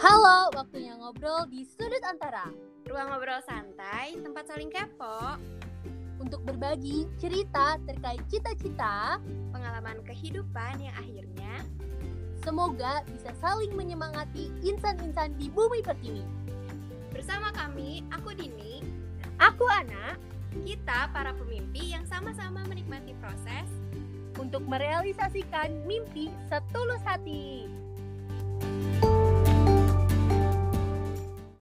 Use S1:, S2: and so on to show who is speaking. S1: Halo, waktunya ngobrol di sudut antara
S2: Ruang ngobrol santai, tempat saling kepo,
S1: untuk berbagi cerita terkait cita-cita.
S2: pengalaman kehidupan yang akhirnya
S1: Semoga bisa saling menyemangati insan-insan di bumi pertiwi.
S2: bersama kami, aku Dini,
S1: Aku Ana
S2: kita para pemimpi yang sama-sama menikmati proses.
S1: untuk merealisasikan mimpi setulus hati.